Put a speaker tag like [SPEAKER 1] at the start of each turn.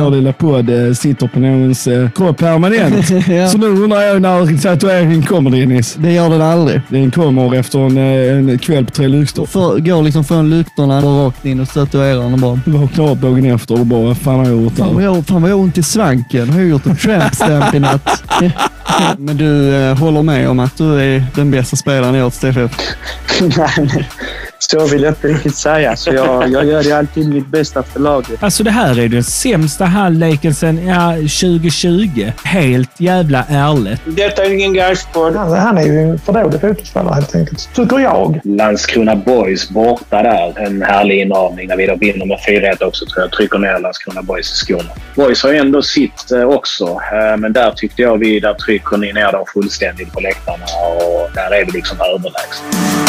[SPEAKER 1] Vår lilla podd eh, sitter på någons eh, kropp permanent.
[SPEAKER 2] Ja.
[SPEAKER 1] Så nu undrar jag när tatueringen kommer Dennis.
[SPEAKER 2] Det gör den aldrig.
[SPEAKER 1] Den kommer efter en, eh, en kväll på Tre Lyxtor.
[SPEAKER 2] För, går liksom från lyktorna och rakt in och tatuerar den bara.
[SPEAKER 1] Vaknar upp dagen efter och bara, vad fan har jag gjort
[SPEAKER 2] Fan vad
[SPEAKER 1] här?
[SPEAKER 2] jag, fan vad jag har ont i svanken. Har jag gjort en tramp stamp i natt? Men du eh, håller med om att du är den bästa spelaren i årets TFF?
[SPEAKER 3] Nej, men så vill jag inte riktigt säga. Så jag, jag gör ju alltid mitt bästa för laget.
[SPEAKER 4] Alltså det här är den sämsta halvleken sedan ja, 2020. Helt jävla ärligt.
[SPEAKER 3] Detta är ingen gashport.
[SPEAKER 5] Han, han är ju en för dålig fotbollsspelare helt enkelt, tycker jag.
[SPEAKER 6] Landskrona Boys borta där. En härlig inramning när vi då vinner med 4-1 också tror jag. Trycker ner Landskrona Boys i skorna. Boys har ju ändå sitt eh, också. Eh, Men där tyckte jag vi, där trycker ni ner dem fullständigt på läktarna och där är vi liksom överlägsna.